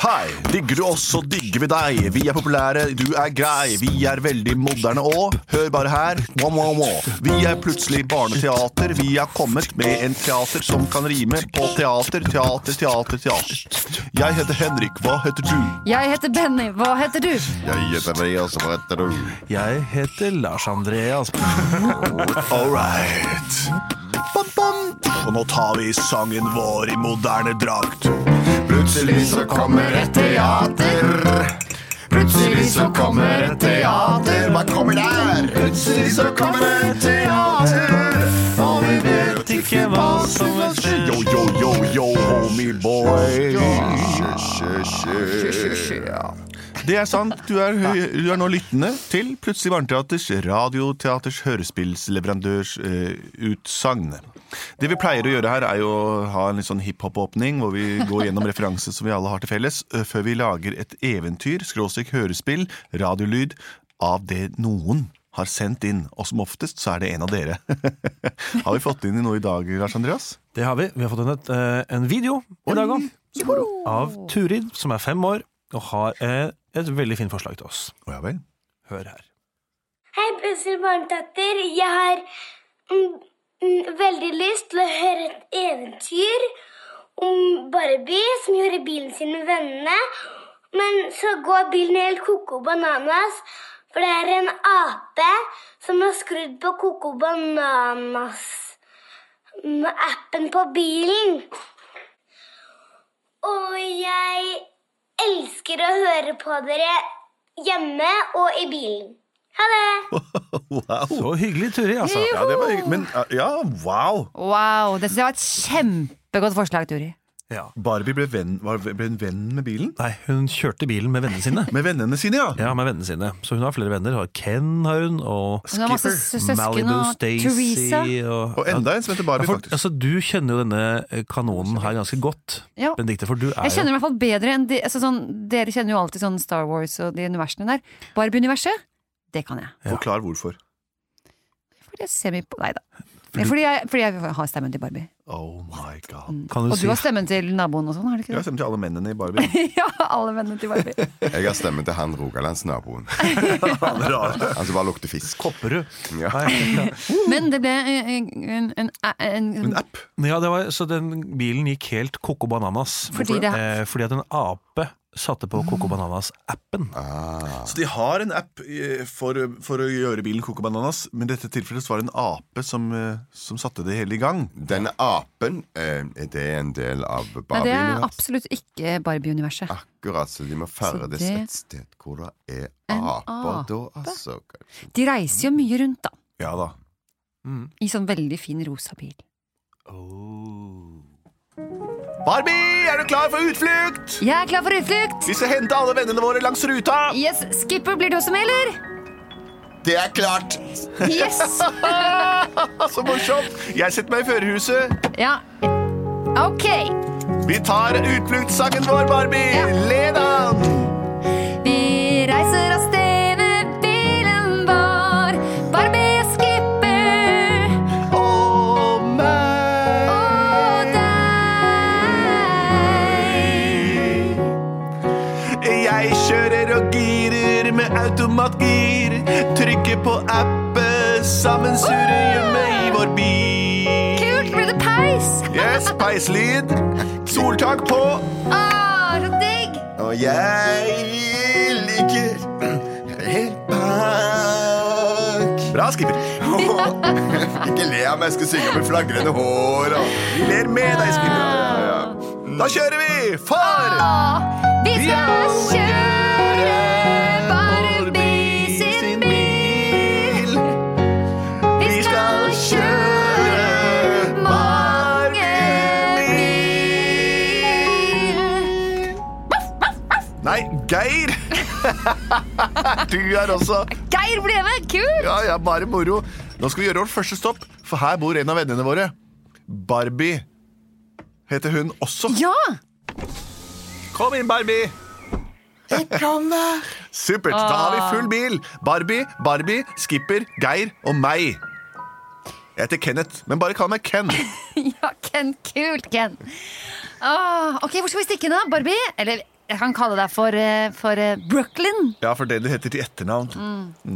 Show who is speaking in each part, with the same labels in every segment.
Speaker 1: Hei, digger du oss, så digger vi deg. Vi er populære, du er grei. Vi er veldig moderne òg. Hør bare her. Wah, wah, wah. Vi er plutselig barneteater. Vi har kommet med en teater som kan rime på teater, teater, teater, teater. Jeg heter Henrik, hva heter du?
Speaker 2: Jeg heter Benny, hva heter du?
Speaker 1: Jeg heter Reas, hva heter du?
Speaker 3: Jeg heter Lars Andreas.
Speaker 1: All right. Bom, bom. Og nå tar vi sangen vår i moderne drakt.
Speaker 4: Plutselig så kommer et teater. Plutselig så kommer et teater. Hva kommer der? Plutselig så kommer et teater. Og vi vet ikke hva som vil skje.
Speaker 1: Yo, yo, yo, yo, homie boy. Det er sant. Du er, du er nå lyttende til Plutselig barneteaters radioteaters hørespillsleverandørs eh, utsagn. Det vi pleier å gjøre her, er jo å ha en litt sånn hiphop-åpning, hvor vi går gjennom referanser som vi alle har til felles, eh, før vi lager et eventyr, skråstrek hørespill, radiolyd, av det noen har sendt inn. Og som oftest så er det en av dere. har vi fått inn noe i dag, Lars Andreas?
Speaker 3: Det har vi. Vi har fått inn et, eh, en video i dag òg. Av Turid, som er fem år, og har eh, et veldig fint forslag til oss.
Speaker 1: Å ja vel.
Speaker 3: Hør her.
Speaker 5: Hei, Bussel Barnetatter. Jeg har mm, mm, veldig lyst til å høre et eventyr om Barbie som gjorde bilen sin med vennene. Men så går bilen helt koko bananas, for det er en ape som har skrudd på koko bananas-appen på bilen. Og jeg elsker å høre på dere hjemme og i bilen. Ha det!
Speaker 1: Wow.
Speaker 3: Så hyggelig, Turid, altså.
Speaker 1: Ja, det var hyggelig. Men ja, wow!
Speaker 2: Wow, det synes jeg var et kjempegodt forslag, Turi.
Speaker 3: Ja.
Speaker 1: Barbie ble, venn, var, ble en venn med bilen?
Speaker 3: Nei, hun kjørte bilen med vennene sine.
Speaker 1: Med vennene sine, ja!
Speaker 3: Ja, med vennene sine. Så hun har flere venner. Har Ken har hun, og
Speaker 2: Hun har masse sø- søsken
Speaker 3: Malibu,
Speaker 2: og
Speaker 3: Stacey
Speaker 2: Teresa.
Speaker 3: og,
Speaker 1: Og enda en som heter Barbie,
Speaker 3: Ja, for,
Speaker 1: faktisk.
Speaker 3: altså, du kjenner jo denne eh, kanonen her ganske godt,
Speaker 2: Ja.
Speaker 3: Benedikte. For du er
Speaker 2: Jeg kjenner i
Speaker 3: jo
Speaker 2: hvert fall bedre enn de, altså sånn, Dere kjenner jo alltid sånn Star Wars og de universene der. Barbie-universet, det kan jeg.
Speaker 1: Forklar hvorfor.
Speaker 2: Fordi jeg ser mye på Nei da. Fordi jeg, fordi jeg har stemmen til Barbie.
Speaker 1: Oh my god.
Speaker 3: kan du
Speaker 2: Og
Speaker 3: si,
Speaker 2: du har stemmen til naboen og sånn, har du
Speaker 1: Jeg
Speaker 2: ikke
Speaker 1: har
Speaker 2: det?
Speaker 1: stemt til alle mennene i Barbie.
Speaker 2: Ja, alle vennene til Barbie.
Speaker 4: Jeg har stemme til han rogalandsnaboen. Han som bare lukter fisk.
Speaker 3: Kopperud.
Speaker 4: Ja.
Speaker 3: Nei,
Speaker 2: Men det ble en, en, en, en, en
Speaker 1: App!
Speaker 3: Ja, det var, så den bilen gikk helt Coco Bananas.
Speaker 2: Fordi det-
Speaker 3: eh, fordi at en ape satte på Coco Bananas-appen.
Speaker 4: Ah.
Speaker 1: Så Altså, de har en app eh, for, for å gjøre bilen Coco Bananas, men i dette tilfellet så var det en ape som, eh, som satte det hele i gang.
Speaker 4: Denne apen, eh, er det en del av
Speaker 2: Nei, det er
Speaker 4: Barbie-universet?
Speaker 2: absolutt ikke Barbie-universet.
Speaker 4: Akkurat, så de må ferdes
Speaker 2: Så det-
Speaker 4: et sted hvor det er
Speaker 2: En
Speaker 4: aper, da,
Speaker 2: ape?
Speaker 4: altså. kanskje.
Speaker 2: De reiser jo mye rundt, da.
Speaker 1: Ja da.
Speaker 2: I sånn veldig fin rosa bil.
Speaker 1: Barbie, er du klar for utflukt?
Speaker 2: Jeg er klar for utflukt!
Speaker 1: Vi skal hente alle vennene våre langs ruta!
Speaker 2: Yes, Skipper, blir du også med, eller?
Speaker 4: Det er klart!
Speaker 2: Yes!
Speaker 1: Ah, Så morsomt! Jeg setter meg i førerhuset.
Speaker 2: Ja. Ok.
Speaker 1: Vi tar utfluktssangen vår, Barbie! Led an!
Speaker 2: Vi reiser av sted med bilen vår. Barbie og Skipper
Speaker 1: Og meg!
Speaker 2: og deg.
Speaker 1: Jeg kjører og girer med automatgir. Trykker på appen, sammen surrer hjemme i vår bil.
Speaker 2: Kult, blir det peis?
Speaker 1: Yes, peislyd. Soltak på.
Speaker 2: Ah, så digg!
Speaker 4: Og jeg ligger helt bak.
Speaker 1: Bra, skipper.
Speaker 4: Ikke le av meg, jeg skal synge med flagrende hår. Og...
Speaker 1: Vi ler med deg, skipper.
Speaker 4: Ja.
Speaker 1: Da kjører vi, for
Speaker 2: Ah, Vi skal kjøre Barbie
Speaker 1: Barbie
Speaker 2: sin
Speaker 1: sin
Speaker 2: bil. Vi
Speaker 1: Vi
Speaker 2: skal
Speaker 1: skal
Speaker 2: kjøre mange mil.
Speaker 1: Nei, Geir. Du er også
Speaker 2: Geir ble med! Kult!
Speaker 1: Ja, ja, bare moro. Nå skal vi gjøre vårt første stopp, for her bor en av vennene våre. Barbie heter hun også.
Speaker 2: Ja!
Speaker 1: Kom inn, Barbie!
Speaker 4: Jeg kommer.
Speaker 1: Supert. Da har vi full bil. Barbie, Barbie, Skipper, Geir og meg. Jeg heter Kenneth, men bare kall meg Ken.
Speaker 2: Ja, Ken. Kult, Ken. Åh, ok, Hvor skal vi stikke da? Barbie? Eller jeg kan kalle deg for, eh, for eh, Brooklyn.
Speaker 1: Ja, for det du heter til etternavn.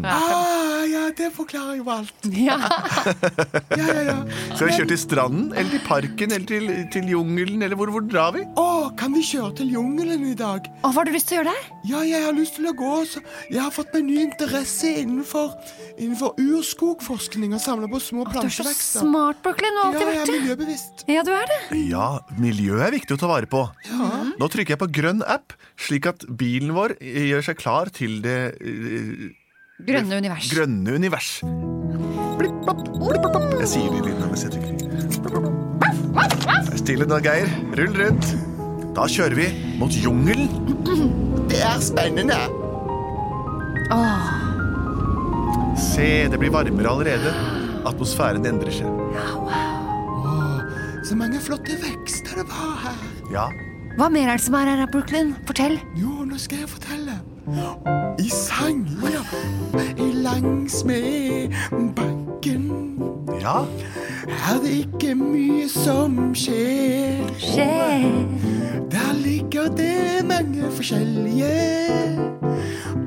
Speaker 4: Ah, ja, det forklarer jo alt.
Speaker 2: Ja. Ah,
Speaker 4: Ja, ja, ja.
Speaker 1: Skal vi kjøre til stranden, eller til parken, eller til, til jungelen, eller hvor, hvor drar vi?
Speaker 4: Å, kan vi kjøre til jungelen i dag?
Speaker 2: Og hva har du lyst til å gjøre der?
Speaker 4: Ja, jeg har lyst til å gå, så jeg har fått meg ny interesse innenfor, innenfor urskogforskning og samle på
Speaker 2: Du
Speaker 4: små
Speaker 2: er så
Speaker 4: plantevekster.
Speaker 2: smart, Brooklyn. Du har alltid
Speaker 4: Ja, jeg er
Speaker 2: vært det.
Speaker 4: miljøbevisst.
Speaker 2: Ja, du er det.
Speaker 1: Ja, miljøet er viktig å ta vare på. Nå trykker jeg på grønn app, slik at bilen vår eh, gjør seg klar til det eh,
Speaker 2: Grønne univers.
Speaker 1: grønne univers. Blipp, bopp, blipp, bopp, bopp. Jeg sier de lydene mens jeg trykker. Blipp, bopp. Det er Stille nå, Geir. Rull rundt. Da kjører vi mot jungelen.
Speaker 4: Det er spennende.
Speaker 1: Ah. Se, det blir varmere allerede. Atmosfæren endrer seg.
Speaker 4: Så mange flotte vekster det var her.
Speaker 1: Ja,
Speaker 2: Hva mer er det som er her, Brooklyn? Fortell.
Speaker 4: Jo, nå skal jeg fortelle. I sanger langs med bakken
Speaker 1: ja.
Speaker 4: er det ikke mye som skjer.
Speaker 2: Skje.
Speaker 4: Der ligger det mange forskjellige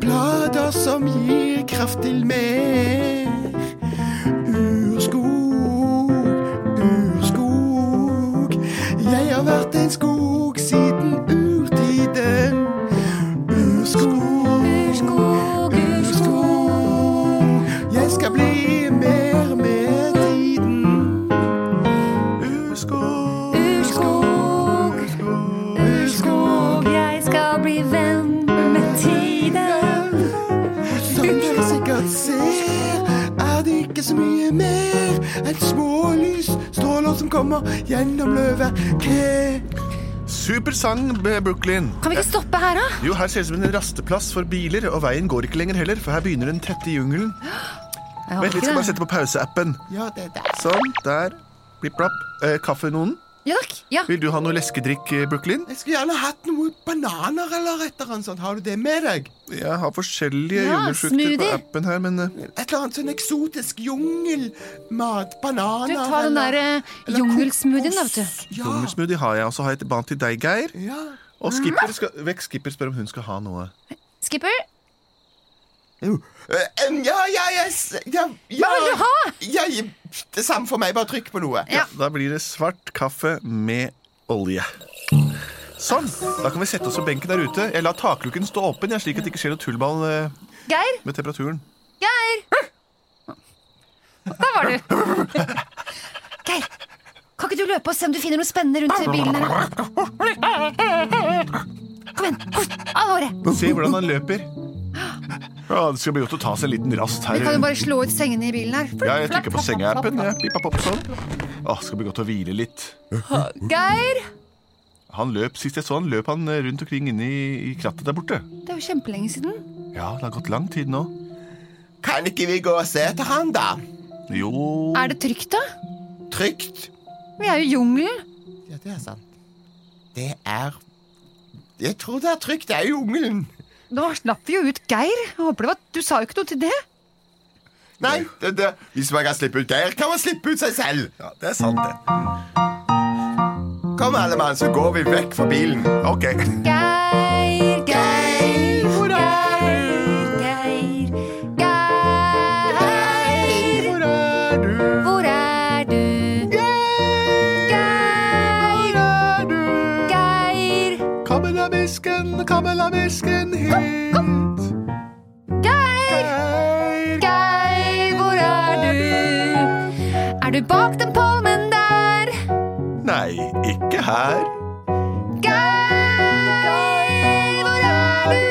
Speaker 4: blader som gir kraft til mer. Urskog, urskog. Jeg har vært en skog siden urtiden. Urskog,
Speaker 2: Urskog,
Speaker 4: urskog. Jeg skal bli mer med tiden.
Speaker 1: Urskog,
Speaker 2: urskog, urskog. Jeg skal bli venn med tiden.
Speaker 4: Som dere sikkert ser, er det ikke så mye mer enn små lysstråler som kommer gjennom løvet. Ke.
Speaker 1: Super sang, B- Brooklyn.
Speaker 2: Kan vi ikke stoppe her, da?
Speaker 1: Jo, her ser det ut som en rasteplass for biler, og veien går ikke lenger heller, for her begynner den tette jungelen.
Speaker 2: Jeg
Speaker 1: Vent
Speaker 2: håper
Speaker 1: litt, skal
Speaker 2: ikke
Speaker 1: bare
Speaker 2: det.
Speaker 1: sette på pauseappen.
Speaker 4: Ja, det der.
Speaker 1: Sånn, der. Blipp-blapp. Eh, kaffe, noen?
Speaker 2: Ja takk. Ja.
Speaker 1: Vil du ha noe leskedrikk, eh, Brooklyn?
Speaker 4: Jeg skulle gjerne hatt noe bananer eller et eller annet sånt. Har du det med deg?
Speaker 1: Jeg har forskjellige
Speaker 2: Ja,
Speaker 1: jungelfrukter på
Speaker 2: smoothie.
Speaker 1: appen her, men eh,
Speaker 4: Et eller annet sånn eksotisk jungelmat. Bananer
Speaker 2: Du tar den
Speaker 4: eller-
Speaker 2: der eh,
Speaker 4: eller
Speaker 2: jungelsmoothien, da,
Speaker 4: kokos.
Speaker 2: vet du.
Speaker 4: Ja.
Speaker 1: jungelsmoothie har jeg, og så har jeg et barn til deg, Geir.
Speaker 4: ja.
Speaker 1: Og Skipper, skal, vekk Skipper spør om hun skal ha noe.
Speaker 2: Skipper?
Speaker 4: Eh, em, Ja, ja, jeg s- ja, ja.
Speaker 2: vil du ha?
Speaker 4: Jeg, det samme for meg, bare trykk på noe.
Speaker 1: Ja, Da blir det svart kaffe med olje. Sånn. Da kan vi sette oss på benken der ute. Jeg lar takluken stå åpen, jeg, slik at det ikke skjer noe tullball eh,
Speaker 2: Geir?
Speaker 1: med temperaturen.
Speaker 2: Geir! Der var du. Geir, kan ikke du løpe og se om du finner noe spennende rundt i bilen? Eller? Kom igjen. Kort. Av håret.
Speaker 1: Se hvordan han løper. Ja, det skal bli godt å ta seg en liten rast her.
Speaker 2: Vi kan jo bare slå ut sengene i bilen her.
Speaker 1: Ja, jeg trykker på sengeappen. Ja. Pippa, popp, sånn. Å, skal bli godt å hvile litt.
Speaker 2: Geir!
Speaker 1: Han løp, Sist jeg så han løp han eh, rundt omkring inne i, i krattet der borte.
Speaker 2: Det er jo kjempelenge siden.
Speaker 1: Ja, det har gått lang tid nå.
Speaker 4: Kan ikke vi gå og se etter han, da?
Speaker 1: Jo
Speaker 2: Er det trygt, da?
Speaker 4: Trygt.
Speaker 2: Vi er jo i jungelen.
Speaker 4: Ja, det er sant. Det er Jeg tror det er trygt. Det er jungelen.
Speaker 2: Da slapp vi jo ut Geir. Jeg håper det var Du sa jo ikke noe til det.
Speaker 4: Nei, det, det. hvis man kan slippe ut der, kan man slippe ut seg selv.
Speaker 1: Ja, det er sant, det.
Speaker 4: Kom, alle mann, så går vi vekk fra bilen.
Speaker 1: Ok.
Speaker 2: Geir, Geir,
Speaker 4: hvor er
Speaker 2: Geir, Geir.
Speaker 4: Hvor er du?
Speaker 2: Hvor er du? Geir,
Speaker 4: er du?
Speaker 2: Geir,
Speaker 4: Kamelamisken, kamelamisken hit.
Speaker 2: Geir,
Speaker 4: Hei.
Speaker 2: Geir, hvor er du? Er du bak den palmen der?
Speaker 1: Nei, ikke her.
Speaker 2: Geir, hvor er du?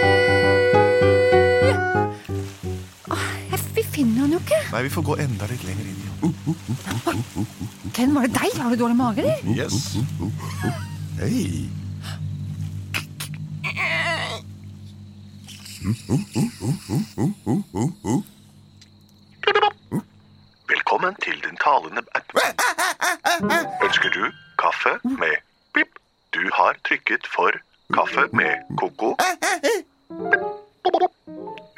Speaker 2: Åh, jeg- Vi finner han jo ikke.
Speaker 1: Nei, vi får gå enda litt lenger inn i jungelen.
Speaker 2: Ken, var det deg? Har du dårlig mage, eller?
Speaker 1: Yes.
Speaker 4: Hei.
Speaker 6: Velkommen til den talende app. Ønsker du kaffe med pip? Du har trykket for kaffe med koko.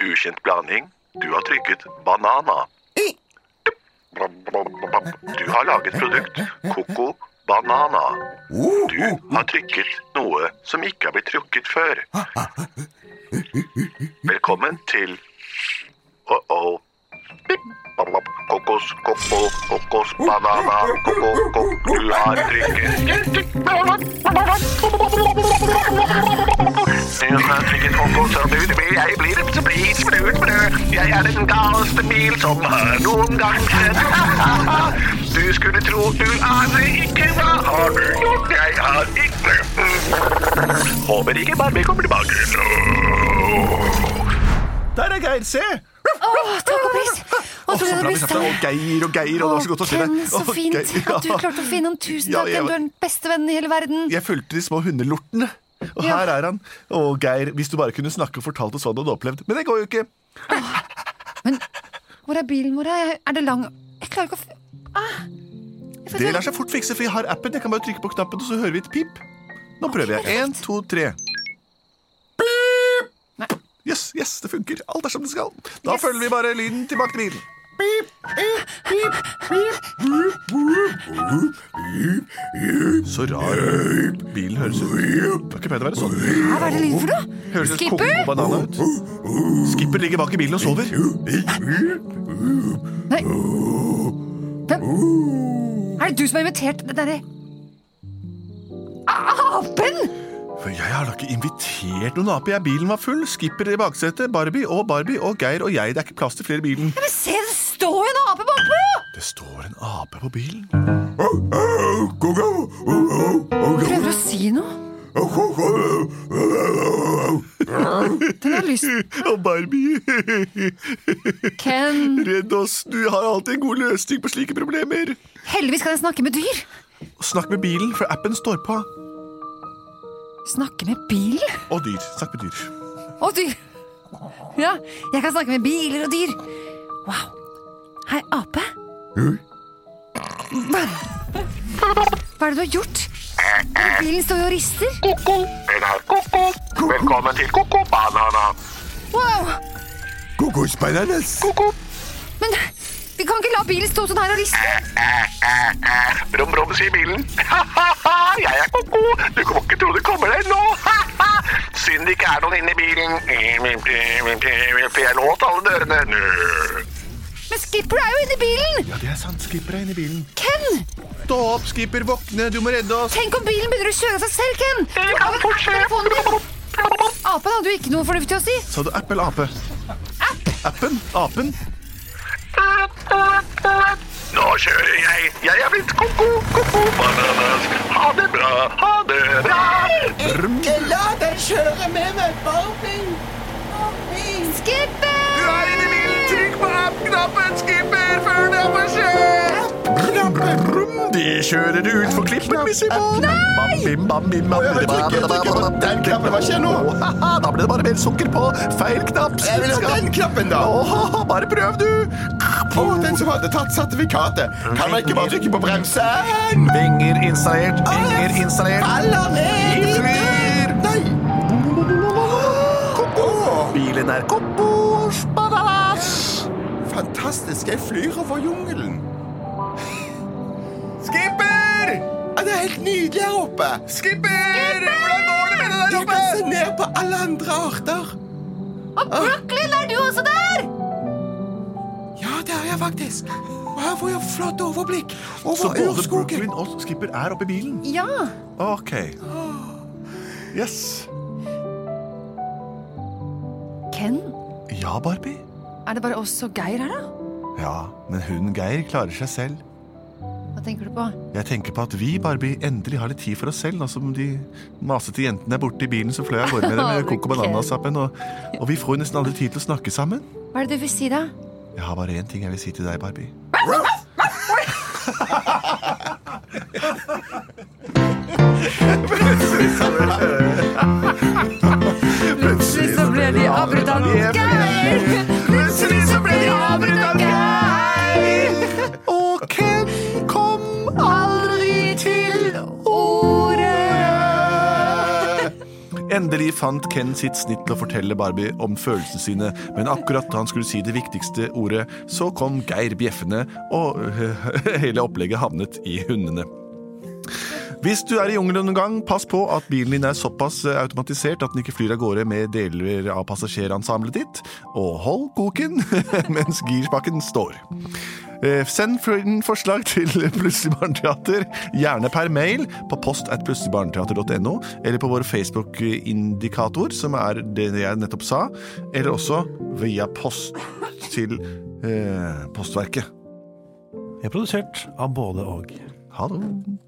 Speaker 6: Ukjent blanding. Du har trykket banana. Du har laget produkt Coco Banana. Du har trykket noe som ikke har blitt trukket før. Velkommen til Uh-oh. Kokos, koko, kokos, banana, koko, kok, du har trykket. Du har trykket kokos, og du, du, jeg blir et sprit, sprut, brød. Jeg er den galeste bil som har noen gang sett. Du skulle tro du aner ikke hva har du gjort. Jeg har ikke Håper ikke Barbie kommer tilbake.
Speaker 7: Der er Geir, se!
Speaker 2: Åh, takk og pris! Og
Speaker 7: Å,
Speaker 2: så
Speaker 7: så
Speaker 2: ble
Speaker 7: bra
Speaker 2: det
Speaker 7: vi traff deg.
Speaker 2: bestemt.
Speaker 7: Å, Geir og Geir, og det var så godt å se deg.
Speaker 2: Ken, så
Speaker 7: Å,
Speaker 2: fint
Speaker 7: Geir,
Speaker 2: at du
Speaker 7: ja.
Speaker 2: klarte å finne ham. Tusen
Speaker 7: Ja,
Speaker 2: takk,
Speaker 7: jeg
Speaker 2: Ken. Du er den beste vennen i hele verden.
Speaker 7: Jeg fulgte de små hundelortene. Og
Speaker 2: Ja.
Speaker 7: her er han. Å, Geir, hvis du bare kunne snakke og fortalt oss hva du hadde opplevd. Men det går jo ikke.
Speaker 2: Men hvor er bilen vår? Er- Er det lang Jeg klarer ikke å f... Ah, jeg følte-
Speaker 7: Det lar seg fort fikse, for jeg har appen. Jeg kan bare trykke på knappen, og så hører vi et pip. Nå prøver jeg. En, to, tre.
Speaker 2: Nei.
Speaker 7: Pip! Yes, yes, det funker. Alt er som det skal. Da følger vi bare lyden tilbake til bilen. Så rar bilen høres ut. Det er ikke pent å være sånn.
Speaker 2: Hæ, Hva er det lyd for noe?
Speaker 7: Høres ut
Speaker 2: Skipper?
Speaker 7: koko banana ut. Skipper ligger bak i bilen og sover.
Speaker 2: Nei. Hvem? Er det du som har invitert den derre Apen!
Speaker 7: For jeg har da ikke invitert noen ape. Jeg bilen var full. Skipper i baksetet, Barbie og Barbie og Geir og jeg. Det er ikke plass til flere i bilen.
Speaker 2: Men se, det står jo en ape bakpå!
Speaker 7: Det står en ape på bilen.
Speaker 2: Prøver å si noe. Den har lyst
Speaker 7: Og Barbie,
Speaker 2: Ken.
Speaker 7: redd oss. Du har alltid en god løsning på slike problemer.
Speaker 2: Heldigvis kan jeg snakke med dyr.
Speaker 7: Snakk med bilen, for appen står på.
Speaker 2: Snakke med bil
Speaker 7: Og dyr. Snakk med dyr.
Speaker 2: og dyr. Ja, jeg kan snakke med biler og dyr. Wow. Hei, ape. Hva hva er det du har gjort? Bilen står jo og rister.
Speaker 6: Koko, den har koko. Velkommen til Koko Banana.
Speaker 2: Wow.
Speaker 8: Kokosbananas.
Speaker 6: Koko.
Speaker 2: Men vi kan ikke la bilen stå sånn her og riste.
Speaker 6: Brom, brom, sier bilen. Ha-ha-ha, jeg er koko. Du kan ikke tro det kommer deg nå. Ha-ha. Synd det ikke er noen inne i bilen. For jeg låt alle dørene. Nø.
Speaker 2: Men Skipper er jo inni bilen!
Speaker 7: Ja, det er sant. Skipper er inne i bilen.
Speaker 2: Ken!
Speaker 7: Stå opp, Skipper. Våkne. Du må redde oss.
Speaker 2: Tenk om bilen begynner å kjøre seg selv, Ken!
Speaker 6: Det kan fort skje.
Speaker 2: Telefonen din. Apen hadde jo ikke noe fornuftig å si.
Speaker 7: Sa du app eller ape? Appen? Apen?
Speaker 6: Nå kjører jeg. Jeg er blitt koko, koko bananas. Ha det bra, ha det bra.
Speaker 8: Ikke la den kjøre med meg, Barbie. Barbie.
Speaker 2: Skipper!
Speaker 6: er inne i bilen. Trykk på app-knappen, skipper, før det er for sent.
Speaker 7: Brum, de kjører ut for klippen, Missy Moon. Bam, bam, bam, bam,
Speaker 8: Å, jeg må
Speaker 7: bam,
Speaker 8: trykke,
Speaker 7: bam,
Speaker 8: trykke på
Speaker 7: bam,
Speaker 8: den knappen. Hva skjer nå?
Speaker 7: Å, haha, Da ble det bare mer sukker på. Feil knapp.
Speaker 8: Jeg vil ha den knappen, da.
Speaker 7: Å, haha, bare prøv, du.
Speaker 8: Å, den som hadde tatt sertifikatet. Kan man ikke bare trykke på bremsen?
Speaker 7: Vinger installert, vinger installert.
Speaker 8: Faller ned i
Speaker 7: Flyr.
Speaker 8: dør. Nei. Koko.
Speaker 7: Bilen er kopos.
Speaker 8: Fantastisk. Jeg flyr over jungelen.
Speaker 7: Skipper!
Speaker 8: Ja, Det er helt nydelig her oppe.
Speaker 7: Skipper! Hvordan går det med deg
Speaker 8: Jeg kan se ned på alle andre arter.
Speaker 2: Og Brooklyn, er du også der?
Speaker 8: Ja, det er jeg faktisk. Og her får jeg flott overblikk
Speaker 7: Så
Speaker 8: over
Speaker 7: både
Speaker 8: urskogen.
Speaker 7: Brooklyn og Skipper er oppe i bilen?
Speaker 2: Ja.
Speaker 7: Ok. Yes.
Speaker 2: Ken,
Speaker 7: Ja, Barbie.
Speaker 2: er det bare oss og Geir her, da?
Speaker 7: Ja, men hunden Geir klarer seg selv.
Speaker 2: Hva tenker du på?
Speaker 7: Jeg tenker på at vi, Barbie, endelig har litt tid for oss selv, nå som de masete jentene er borte i bilen, så fløy jeg av gårde med dem med
Speaker 2: Å,
Speaker 7: Coco
Speaker 2: Ken.
Speaker 7: Bananas-appen, og, og vi får jo nesten aldri tid til å snakke sammen.
Speaker 2: Hva er det du vil si, da?
Speaker 7: Jeg har bare én ting jeg vil si til deg, Barbie.
Speaker 2: Plutselig så ble de avbrutt av Geir. Plutselig så ble de avbrutt av Geir.
Speaker 7: Og Ken kom
Speaker 2: Aldri til ordet.
Speaker 7: ordet! Endelig fant Ken sitt snitt til å fortelle Barbie om følelsene sine, men akkurat da han skulle si det viktigste ordet, så kom Geir bjeffende, og hele opplegget havnet i hundene. Hvis du er i jungelen noen gang, pass på at bilen din er såpass eh, automatisert at den ikke flyr av gårde med deler av passasjerensemblet ditt, og hold koken mens girspaken står. Eh, Send for- forslag til Plutselig barneteater, gjerne per mail, på post at plutseligbarneteater.no, eller på vår Facebook-indikator, som er det jeg nettopp sa, eller også via post til eh, Postverket.
Speaker 3: Jeg er produsert av både og.
Speaker 7: Ha det.